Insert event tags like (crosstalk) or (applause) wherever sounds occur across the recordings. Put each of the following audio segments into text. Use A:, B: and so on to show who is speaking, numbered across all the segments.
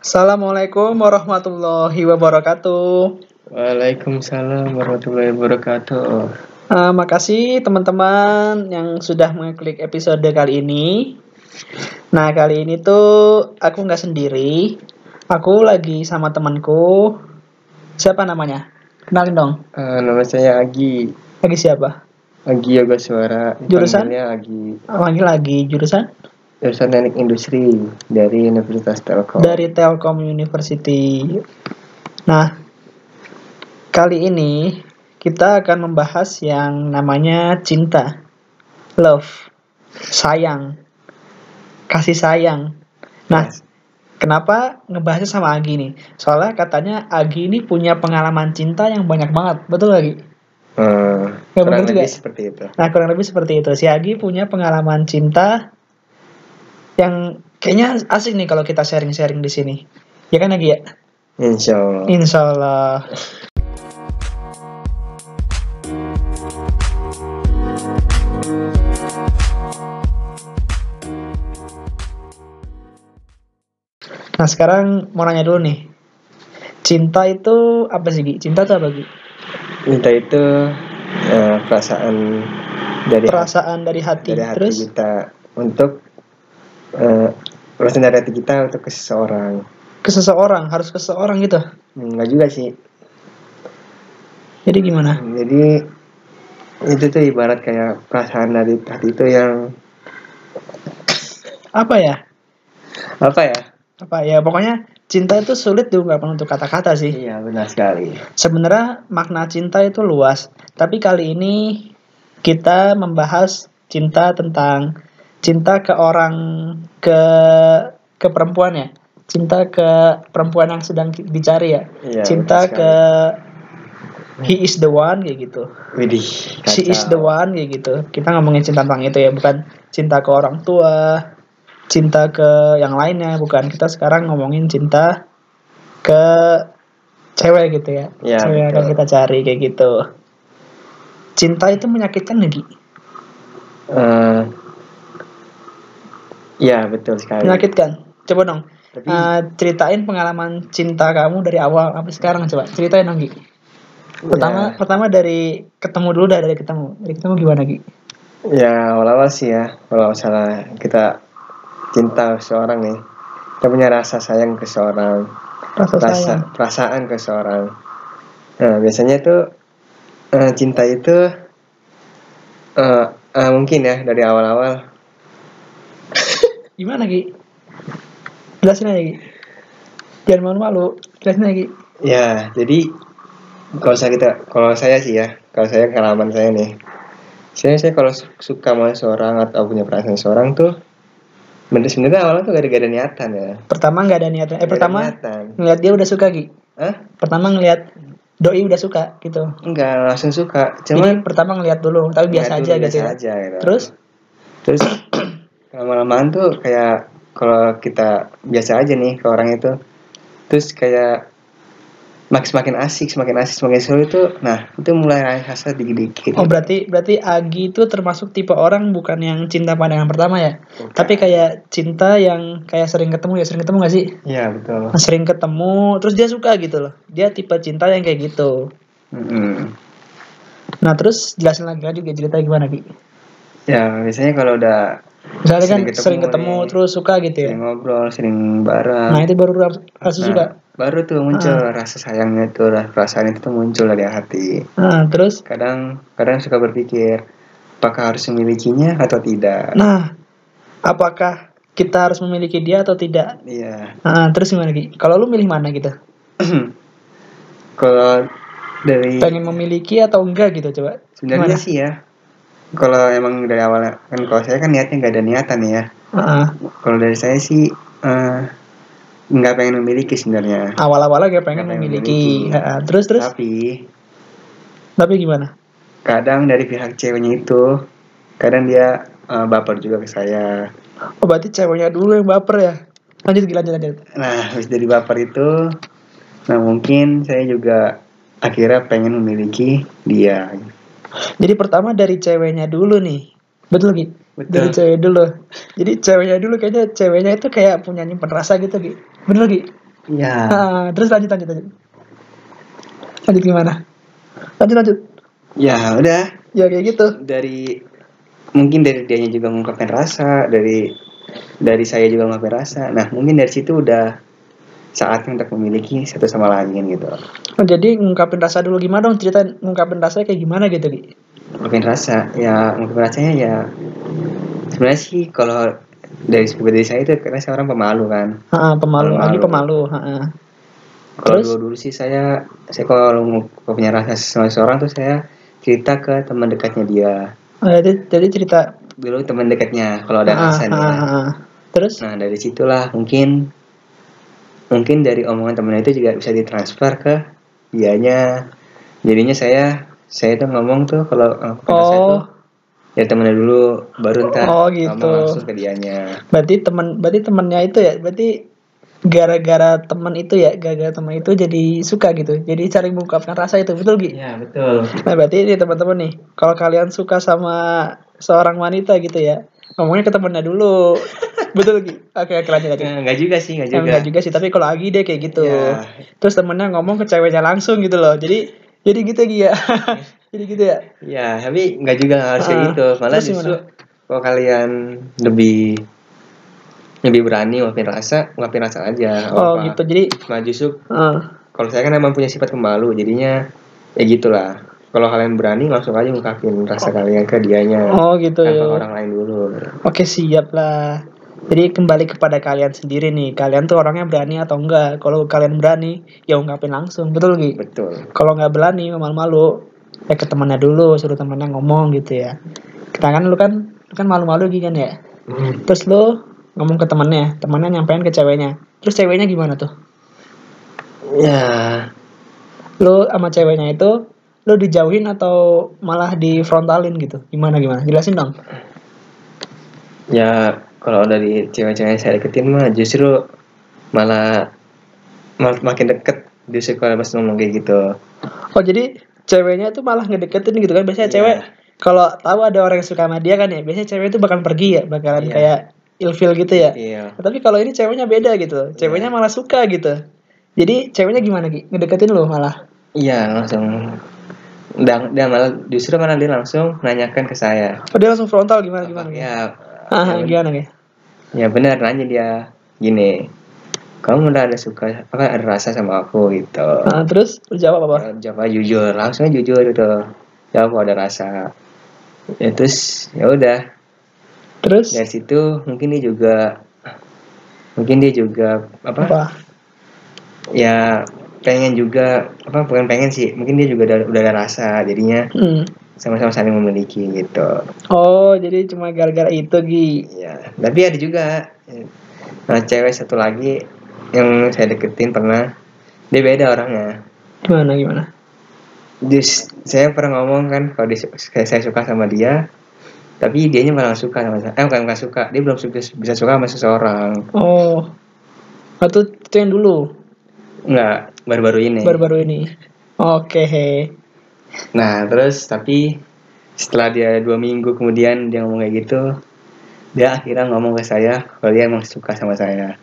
A: Assalamualaikum warahmatullahi wabarakatuh.
B: Waalaikumsalam warahmatullahi wabarakatuh.
A: Eh, makasih teman-teman yang sudah mengklik episode kali ini. Nah, kali ini tuh aku nggak sendiri. Aku lagi sama temanku. Siapa namanya? Kenalin dong.
B: Eh, nama saya Agi,
A: Lagi siapa?
B: Agi Yoga Suara.
A: Jurusan?
B: Panggilannya Agi,
A: Lagi lagi jurusan
B: jurusan Teknik Industri dari Universitas Telkom.
A: dari Telkom University. Nah, kali ini kita akan membahas yang namanya cinta, love, sayang, kasih sayang. Nah, kenapa ngebahasnya sama Agi nih? Soalnya katanya Agi ini punya pengalaman cinta yang banyak banget, betul lagi?
B: Eh,
A: Ya, bener
B: kurang
A: juga.
B: lebih seperti itu.
A: Nah, kurang lebih seperti itu. Si Agi punya pengalaman cinta yang kayaknya asik nih kalau kita sharing-sharing di sini. Ya kan Agi ya?
B: Insya Allah.
A: Insya Allah. Nah sekarang mau nanya dulu nih Cinta itu apa sih Gi? Cinta itu apa Gi?
B: Cinta itu eh, perasaan dari
A: Perasaan dari hati,
B: Ya. dari hati
A: Terus
B: kita untuk eh, perasaan dari hati kita untuk ke seseorang.
A: ke seseorang, harus ke seseorang gitu
B: Enggak juga sih.
A: Jadi gimana?
B: Jadi itu tuh ibarat kayak perasaan dari hati itu yang
A: Apa ya?
B: apa ya?
A: Apa ya pokoknya cinta itu sulit diungkapkan untuk kata-kata sih
B: Iya benar sekali.
A: Sebenarnya makna cinta itu luas, tapi kali ini kita membahas cinta tentang cinta ke orang ke ke perempuan ya. Cinta ke perempuan yang sedang ki- dicari ya.
B: Iya,
A: cinta
B: betul
A: ke he is the one kayak gitu.
B: Widih.
A: She
B: kacau.
A: is the one kayak gitu. Kita ngomongin cinta tentang itu ya, bukan cinta ke orang tua, cinta ke yang lainnya, bukan. Kita sekarang ngomongin cinta ke cewek gitu ya.
B: Ya,
A: cewek yang akan
B: betul.
A: kita cari kayak gitu. Cinta itu menyakitkan lagi.
B: Eh, Iya betul sekali.
A: Menyakitkan. Coba dong.
B: Tapi
A: eh, ceritain pengalaman cinta kamu dari awal sampai sekarang coba. Ceritain dong, Gi. Pertama
B: ya,
A: pertama dari ketemu dulu dah dari ketemu. Dari ketemu gimana, Gi?
B: ya awal-awal sih ya kalau nggak salah kita cinta seorang nih. Kita punya rasa sayang ke seorang,
A: Rasa sayang.
B: rasa perasaan ke seorang. Nah biasanya tuh eh, cinta itu eh, eh, mungkin ya dari awal-awal
A: Gimana, Gi? Jelasin aja, Gi. Jangan malu-malu. Jelasin aja, Gi.
B: Ya, jadi kalau saya kita, kalau saya sih ya, kalau saya pengalaman saya nih, saya saya kalau su- suka sama seorang atau punya perasaan seorang tuh, bener sebenarnya awalnya tuh gak ada niatan ya.
A: Pertama nggak ada niatan. Eh,
B: Nggak ada
A: pertama
B: niatan.
A: ngeliat dia udah suka, Gi.
B: Hah?
A: Pertama ngeliat doi udah suka gitu.
B: Enggak, langsung suka.
A: Jadi
B: Cuman
A: pertama ngeliat dulu, tapi biasa
B: ngeliat
A: aja
B: dulu,
A: gitu.
B: biasa
A: ya.
B: aja gitu.
A: Terus
B: terus (clears throat) lama-lamaan tuh kayak kalau kita biasa aja nih ke orang itu terus kayak mak- semakin asik semakin asik semakin seru itu nah itu mulai rasa dikit-dikit gitu.
A: Oh berarti berarti Agi itu termasuk tipe orang bukan yang cinta pandangan pertama ya, tapi kayak cinta yang kayak sering ketemu ya sering ketemu gak sih?
B: Iya betul.
A: Nah, Sering ketemu, terus dia suka gitu loh. Dia tipe cinta yang kayak gitu.
B: Mm-mm.
A: Nah terus jelasin lagi aja juga cerita gimana Ki?
B: Ya biasanya kalau udah
A: Misalnya kan
B: Sering ketemu
A: sering ketemu
B: nih.
A: terus suka gitu ya.
B: sering ngobrol, sering
A: Nah
B: bareng,
A: itu baru ras- rasa
B: nah,
A: suka.
B: baru tuh muncul rasa sayangnya tuh, rasa perasaan itu tuh muncul dari hati.
A: Nah terus,
B: Kadang kadang suka berpikir apakah harus memilikinya atau tidak.
A: nah apakah kita harus memiliki dia atau tidak?
B: Iya.
A: Nah terus gimana Ki? Kalau lu milih mana gitu?
B: Hmm. kalau dari
A: Pengen memiliki atau enggak gitu coba?
B: sebenarnya
A: gimana?
B: sih ya, kalau emang dari awal kan kalau saya kan niatnya nggak ada niatan ya.
A: Heeh.
B: Kalau dari saya sih eh, nggak pengen memiliki sebenarnya.
A: awal-awalnya gak pengen
B: Nggak pengen
A: memiliki
B: memiliki.
A: Ha, terus terus
B: Tapi
A: tapi gimana
B: kadang dari pihak ceweknya itu kadang dia eh, baper juga ke saya
A: oh berarti ceweknya dulu yang baper ya lanjut gila lanjut lanjut
B: nah habis dari baper itu nah mungkin saya juga akhirnya pengen memiliki dia
A: jadi pertama dari ceweknya dulu nih betul gitu
B: Betul.
A: dari cewek dulu jadi ceweknya dulu kayaknya ceweknya itu kayak punya nyimpen rasa gitu Gi. bener Gi?
B: ya
A: Ah, terus lanjut lanjut lanjut. Lanjut gimana? Lanjut lanjut.
B: ya udah
A: Ya kayak gitu.
B: dari mungkin dari dianya juga mengungkapkan rasa dari dari saya juga mengungkapkan rasa nah mungkin dari situ udah saatnya untuk memiliki satu sama lain gitu
A: Oh, jadi ngungkapin rasa dulu gimana dong cerita ngungkapin rasanya kayak gimana gitu Ki?
B: mungkin rasa ya mungkin rasanya ya sebenarnya sih kalau dari seperti saya itu karena saya orang pemalu kan
A: Ah, ah, pemalu,
B: Pemalu.
A: lagi pemalu. ah, ah.
B: kalau
A: Terus?
B: dulu dulu sih saya saya kalau mau- kalau punya rasa sama seorang tuh saya cerita ke teman dekatnya dia
A: Oh, jadi, jadi cerita.
B: dulu teman dekatnya kalau ada
A: ah,
B: rasa
A: ah,
B: nih ya.
A: ah, ah. Terus?
B: nah dari situlah mungkin mungkin dari omongan teman itu juga bisa ditransfer ke dianya jadinya saya saya tuh ngomong tuh kalau aku saya
A: Oh,
B: tuh ya temennya dulu baru ntar
A: Oh, gitu.
B: ngomong langsung ke dianya
A: berarti teman, berarti temannya itu ya, berarti gara-gara teman itu ya, gara-gara teman itu jadi suka gitu. Jadi saling mengungkapkan rasa itu betul Ki?
B: Iya betul.
A: Nah, berarti ini teman-teman nih, kalau kalian suka sama seorang wanita gitu ya, ngomongnya ke temennya
B: (laughs)
A: dulu. Betul, Ki? Oke, oke, lanjut aja.
B: Enggak juga sih, enggak Iya juga.
A: Enggak juga sih, tapi kalau lagi deh kayak gitu.
B: Ya.
A: Terus temennya ngomong ke ceweknya langsung gitu loh. Jadi jadi gitu
B: (laughs)
A: Ki ya. jadi gitu ya.
B: Ya, tapi enggak juga nggak harus kayak
A: Ah,
B: gitu. Malah
A: terus
B: justru kalau kalian lebih lebih berani ngapin rasa, ngapin rasa aja. nggak
A: Oh,
B: apa-apa.
A: gitu. Jadi
B: Nah, justru
A: eh,
B: kalau saya kan emang punya sifat pemalu, jadinya ya gitulah. Kalau kalian berani langsung aja ngungkapin rasa kalian ke dianya
A: oh gitu
B: tanpa
A: ya.
B: orang lain dulu.
A: Oke, siap lah. Jadi kembali kepada kalian sendiri nih. Kalian tuh orangnya berani atau enggak? Kalau kalian berani, ya ungkapin langsung. Betul, Ki?
B: Betul.
A: kalau nggak berani malu-malu ya ke temannya dulu suruh temannya ngomong gitu ya kita kan lu kan lu kan malu-malu gitu kan ya terus lu ngomong ke temannya temannya nyampein ke ceweknya terus ceweknya gimana tuh
B: Ya,
A: lu sama ceweknya itu lu dijauhin atau malah difrontalin gitu gimana gimana jelasin dong
B: ya kalau dari cewek-cewek yang saya deketin mah justru malah mal- makin deket justru kalau pas ngomong kayak gitu.
A: oh jadi ceweknya tuh malah ngedeketin gitu kan biasanya
B: Iya.
A: cewek kalau tahu ada orang yang suka sama dia kan ya biasanya cewek itu bakal pergi ya bakalan
B: Iya.
A: kayak ilfil gitu ya
B: Iya.
A: Nah, Tapi kalau ini ceweknya beda gitu. Ceweknya malah suka gitu. Jadi ceweknya gimana Ki? Ngedeketin lo malah.
B: Iya langsung dan, dan malah justru malah dia langsung menanyakan ke saya.
A: Oh dia langsung frontal gimana gimana? Ki?
B: Ya,
A: Ah, gimana Ki?
B: ya benar nanya dia gini. Kamu udah ada suka apa ada rasa sama aku gitu.
A: Ah, terus lu jawab apa?
B: Jawab aja jujur, langsung aja jujur gitu. Jawab kalau ada rasa. Ya terus ya udah
A: Terus
B: dari situ mungkin dia juga mungkin dia juga apa,
A: apa?
B: ya pengen juga apa bukan pengen sih mungkin dia juga ada- udah ada rasa jadinya
A: Hmm.
B: sama-sama saling memiliki gitu
A: Oh, jadi cuma gara-gara itu Ki.
B: Ya, tapi ada juga nah, cewek satu lagi yang saya deketin pernah dia beda orangnya.
A: Gimana gimana?
B: Just saya pernah ngomong kan kalau dia su- saya saya suka sama dia, tapi dianya malah nggak suka sama saya. Eh bukan nggak suka, dia belum suka, bisa suka sama seseorang.
A: Oh. Atau itu yang dulu,
B: Nggak baru-baru ini.
A: baru-baru ini. Oke.
B: Nah terus tapi setelah dia dua minggu kemudian dia ngomong kayak gitu, dia akhirnya ngomong ke saya kalau dia emang suka sama saya.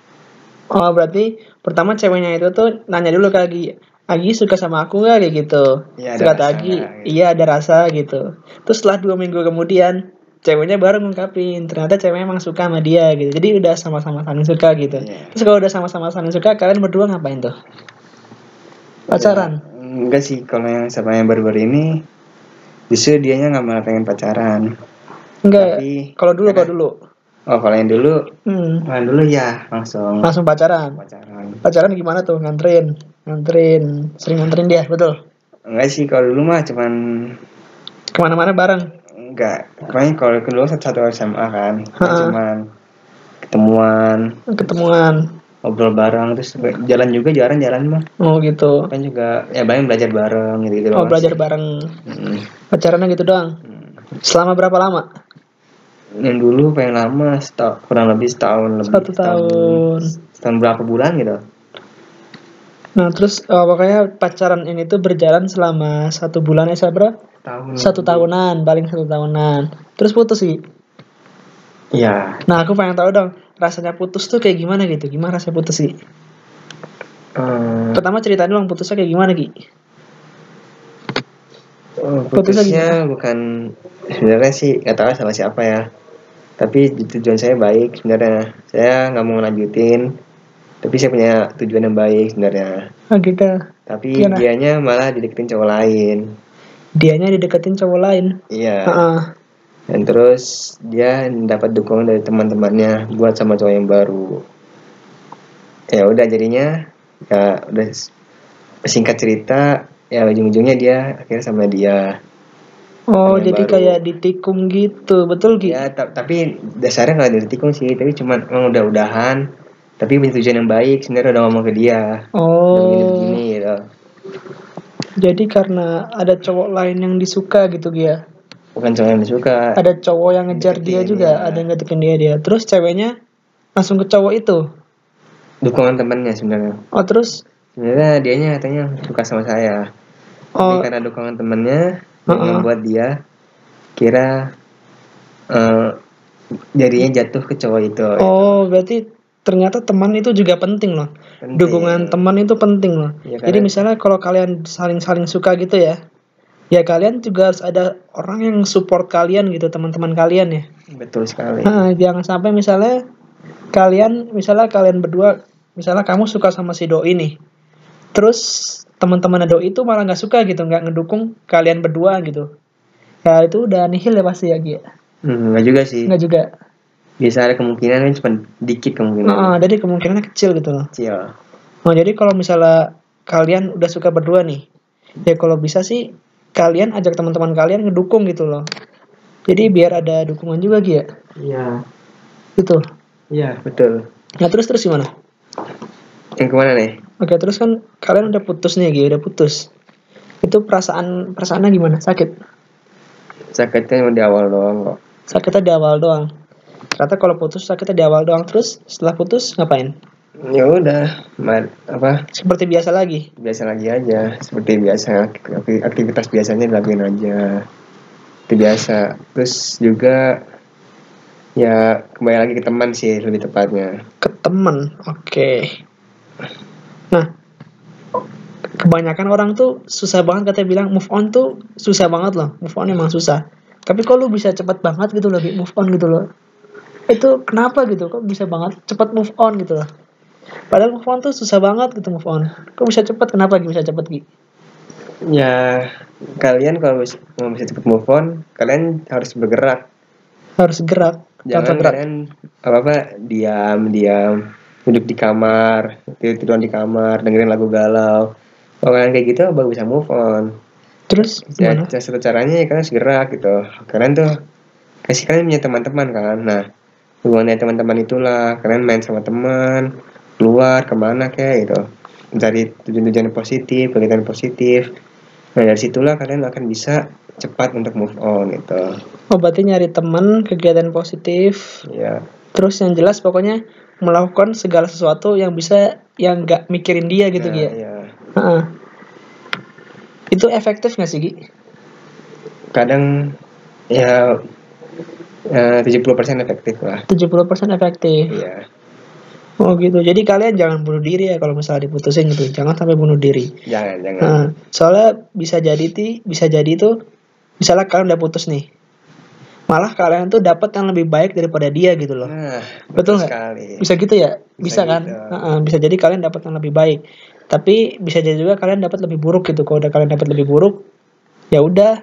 A: Oh, berarti pertama ceweknya itu tuh nanya dulu ke Agi. Agi suka sama aku nggak kayak gitu?
B: Iya, ada
A: Terus kata
B: rasa
A: Agi,
B: nggak, gitu.
A: iya ada rasa gitu. Terus setelah dua minggu kemudian, ceweknya baru ngungkapin ternyata ceweknya emang suka sama dia gitu. Jadi udah sama-sama saling suka gitu.
B: Iya.
A: Terus kalau udah sama-sama saling suka, kalian berdua ngapain tuh?
B: Iya.
A: Pacaran?
B: Enggak sih, kalau yang sama yang baru-baru ini justru dianya nggak malah pengen pacaran.
A: Enggak.
B: Tapi
A: Kalau dulu, kalau dulu,
B: oh kalau yang dulu,
A: hmm,
B: kalau yang dulu ya langsung
A: langsung pacaran.
B: pacaran.
A: Pacaran gimana tuh? Nganterin, nganterin, sering nganterin dia, betul.
B: Enggak sih, kalau dulu mah cuman
A: Kemana-mana bareng.
B: enggak. Kemarin kalau kedua satu-satu SMA kan,
A: Ha-ha.
B: cuman ketemuan,
A: Ketemuan.
B: ngobrol bareng terus jalan juga jarang-jalan mah.
A: Oh gitu.
B: Kan juga ya banyak belajar bareng gitu-gitu
A: Oh
B: doang
A: belajar
B: sih.
A: bareng
B: Mm.
A: pacarannya gitu doang.
B: Hmm.
A: Selama berapa lama?
B: Yang dulu pengen lama, setahun, kurang lebih setahun lebih.
A: Satu tahun.
B: Setahun berapa bulan gitu.
A: Nah terus eh, pokoknya pacaran ini tuh berjalan selama satu bulan ya Sabra?
B: Tahun.
A: Satu tahunan, paling satu tahunan. Terus putus sih.
B: Iya, Hmm.
A: Nah aku pengen tahu dong rasanya putus tuh kayak gimana gitu? Gimana rasanya putus sih?
B: Eh,
A: Pertama cerita dulu yang putusnya kayak gimana Ki?
B: Oh,
A: Putusnya
B: putusnya bukan sebenarnya sih nggak tahu sama siapa ya tapi tujuan saya baik sebenarnya saya nggak mau lanjutin tapi saya punya tujuan yang baik sebenarnya
A: Ah gitu.
B: tapi
A: Gimana?
B: dianya malah dideketin cowok lain
A: Dianya dideketin cowok lain.
B: iya
A: Heeh.
B: dan terus dia dapat dukungan dari teman-temannya buat sama cowok yang baru ya udah jadinya ya udah s- singkat cerita ya ujung-ujungnya dia akhirnya sama dia
A: Oh,
B: Yang
A: jadi
B: baru.
A: kayak ditikung gitu. Betul Ki?
B: Ya, ta- tapi dasarnya nggak dari tikung sih, tapi cuman emang udah udahan. Tapi punya tujuan yang baik, sebenarnya udah ngomong ke dia. Udah
A: Oh.
B: Begini-begini gitu.
A: Jadi karena ada cowok lain yang disuka gitu dia.
B: Bukan cuma yang disuka.
A: Ada cowok yang ngejar dia
B: Deketin,
A: juga,
B: iya.
A: ada yang ngedeketin dia dia. Terus ceweknya langsung ke cowok itu.
B: Dukungan temannya sebenarnya.
A: Oh, terus
B: Sebenarnya dianya katanya suka sama saya. Tapi
A: oh
B: karena dukungan temannya yang
A: Uh-uh.
B: membuat dia kira eh jadinya jatuh ke cowok itu.
A: oh berarti ternyata teman itu juga penting loh.
B: Penting.
A: Dukungan teman itu penting loh.
B: Iya,
A: Jadi
B: karena-
A: misalnya kalau kalian saling-saling suka gitu ya. Ya kalian juga harus ada orang yang support kalian gitu, teman-teman kalian ya.
B: Betul sekali.
A: Nah, jangan sampai misalnya kalian misalnya kalian berdua misalnya kamu suka sama si doi nih. Terus teman-teman doi itu malah nggak suka gitu, nggak ngedukung kalian berdua gitu. Ya itu udah nihil ya pasti ya Gia.
B: Hmm, nggak juga sih.
A: Nggak juga.
B: Bisa ada kemungkinan cuma dikit kemungkinan.
A: Nah, jadi kemungkinannya kecil gitu loh.
B: Kecil.
A: Nah, jadi kalau misalnya kalian udah suka berdua nih, ya kalau bisa sih kalian ajak teman-teman kalian ngedukung gitu loh. Jadi biar ada dukungan juga Gia.
B: Iya.
A: Gitu.
B: Iya, betul.
A: Nah, terus terus gimana?
B: Yang kemana nih?
A: Oke, terus kan kalian udah putus nih, Gi, udah putus. Itu perasaan perasaannya gimana? Sakit.
B: Sakitnya emang di awal doang kok.
A: Sakitnya di awal doang. Ternyata kalau putus sakitnya di awal doang. Terus setelah putus ngapain?
B: Ya udah, ma- apa
A: Seperti biasa lagi.
B: biasa lagi aja, seperti biasa akti- aktivitas biasanya dilakuin aja. Itu biasa. Terus juga ya kembali lagi ke teman sih lebih tepatnya.
A: Ke teman. Oke. Nah, kebanyakan orang tuh susah banget katanya bilang move on tuh susah banget loh. Move on emang susah. Tapi kok lu bisa cepet banget gitu loh, Gi, move on gitu loh. Itu kenapa gitu? Kok bisa banget cepet move on gitu loh? Padahal move on tuh susah banget gitu move on. Kok bisa cepet? Kenapa Gi, bisa cepet Gi?
B: Ya kalian kalau bis- mau bisa cepet move on, kalian harus bergerak.
A: Harus gerak.
B: Jangan
A: Harus gerak.
B: kalian apa apa diam diam duduk di kamar tidur tiduran di kamar dengerin lagu galau kalau kalian kayak gitu baru bisa move on
A: Terus
B: Ya,
A: gimana?
B: cara- satu caranya ya kalian segera gitu. Kalian tuh kasih kalian punya teman-teman kan. Nah, hubungannya teman-teman itulah kalian main sama teman, keluar kemana kayak gitu. Dari tujuan-tujuan yang positif, kegiatan positif. Nah, dari situlah kalian akan bisa cepat untuk move on gitu.
A: Oh, berarti nyari teman, kegiatan positif.
B: Ya,
A: Terus yang jelas pokoknya melakukan segala sesuatu yang bisa yang nggak mikirin dia gitu
B: ya,
A: Gi, ya.
B: ya.
A: Heeh. Itu efektif nggak sih Gi?
B: Kadang ya eh, 70% efektif lah.
A: 70% efektif.
B: Iya.
A: Oh gitu. Jadi kalian jangan bunuh diri ya kalau misalnya diputusin gitu. Jangan sampai bunuh diri.
B: Jangan, jangan.
A: Heeh. soalnya bisa jadi ti, bisa jadi itu misalnya kalian udah putus nih. Malah kalian tuh dapat yang lebih baik daripada dia gitu loh.
B: Nah,
A: Betul nggak?
B: sekali.
A: bisa gitu ya bisa,
B: Bisa
A: kan
B: gitu.
A: Heeh, bisa jadi kalian dapat yang lebih baik tapi bisa jadi juga kalian dapat lebih buruk gitu kalau udah kalian dapat lebih buruk ya udah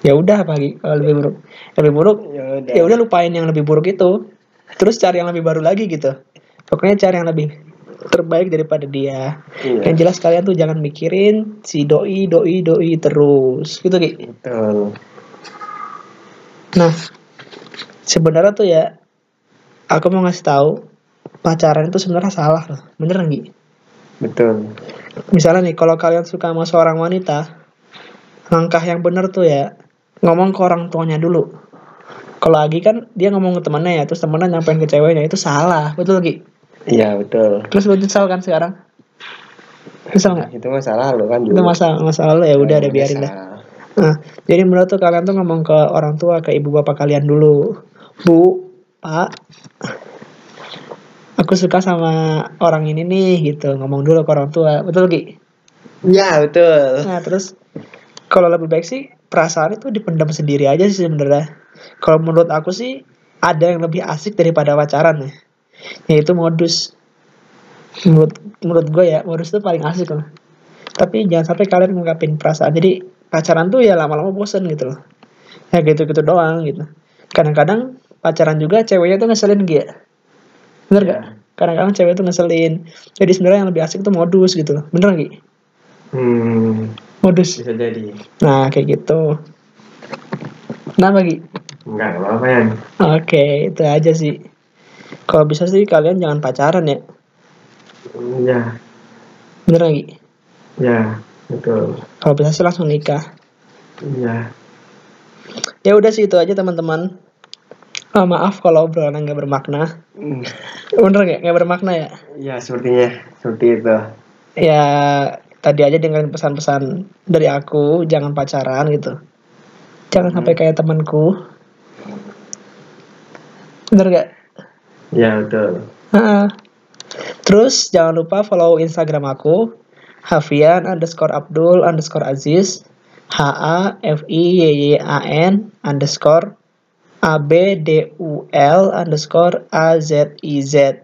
A: ya udah pagi kalau lebih buruk lebih buruk
B: Ya udah.
A: ya udah lupain yang lebih buruk itu terus cari yang lebih baru lagi gitu pokoknya cari yang lebih terbaik daripada dia
B: Iya.
A: yang jelas kalian tuh jangan mikirin si doi doi doi terus gitu Ki.
B: Betul.
A: Nah, sebenarnya tuh ya, aku mau ngasih tahu pacaran itu sebenarnya salah loh, bener nggak? Gi?
B: Betul.
A: Misalnya nih, kalau kalian suka sama seorang wanita, langkah yang bener tuh ya ngomong ke orang tuanya dulu. Kalau lagi kan dia ngomong ke temannya ya, terus temannya nyampein ke ceweknya itu salah, betul Gi?
B: Iya betul.
A: Terus lu nyesal kan sekarang? Nyesal nggak?
B: Itu masalah lo kan dulu.
A: Itu masa masa lalu ya udah
B: Kalau
A: ada biarin
B: bisa.
A: dah. Nah, jadi menurut tuh kalian tuh ngomong ke orang tua, ke ibu bapak kalian dulu. Bu, Pak, aku suka sama orang ini nih gitu ngomong dulu ke orang tua betul Ki?
B: Ya betul.
A: Nah terus kalau lebih baik sih perasaan itu dipendam sendiri aja sih sebenarnya. Kalau menurut aku sih ada yang lebih asik daripada pacaran ya, yaitu modus. Menurut menurut gue ya modus itu paling asik loh. Tapi jangan sampai kalian ngungkapin perasaan. Jadi pacaran tuh ya lama-lama bosen gitu loh. Ya gitu-gitu doang gitu. Kadang-kadang pacaran juga ceweknya tuh ngeselin gitu. Bener gak?
B: Ya.
A: Kadang-kadang cewek tuh ngeselin. Jadi sebenarnya yang lebih asik tuh modus gitu loh. Bener gak? Gi?
B: Hmm,
A: Modus.
B: bisa jadi.
A: Nah, kayak gitu. Kenapa, Gi?
B: Enggak, enggak apa-apa ya.
A: Oke, itu aja sih. Kalau bisa sih kalian jangan pacaran ya.
B: Ya,
A: Bener nggak, Gi?
B: ya, betul.
A: Kalau bisa sih langsung nikah.
B: Ya,
A: Ya udah sih itu aja teman-teman. Ah, maaf kalau obrolan nggak bermakna. Bener nggak? Nggak bermakna ya?
B: ya sepertinya seperti itu.
A: Ya tadi aja dengerin pesan-pesan dari aku, jangan pacaran gitu. Jangan sampai kayak temanku. Bener nggak?
B: Ya betul.
A: Ha-ha. Terus jangan lupa follow Instagram aku Hafian underscore Abdul underscore Aziz H A F I Y Y A N underscore A B D U L underscore A Z I Z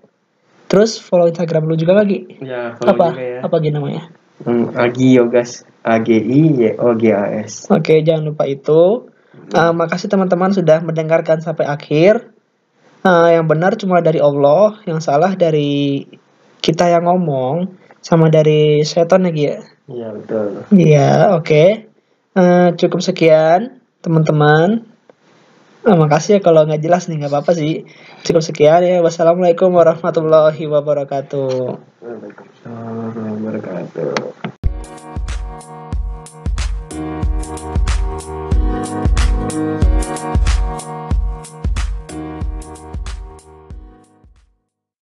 A: Terus follow Instagram lu juga lagi
B: Ya, follow
A: apa
B: juga ya.
A: apa gitu namanya
B: Hmm, Agi Yogas. A G I Y O G A S.
A: Oke jangan lupa itu Eh, makasih teman-teman sudah mendengarkan sampai akhir Eh, yang benar cuma dari Allah yang salah dari kita yang ngomong sama dari setan lagi ya
B: Ya betul.
A: Iya, oke. Eh, cukup sekian, teman-teman. Eh, makasih ya kalau nggak jelas nih, nggak apa-apa sih. Cukup sekian ya. Wassalamualaikum warahmatullahi wabarakatuh.
B: Waalaikumsalam warahmatullahi wabarakatuh.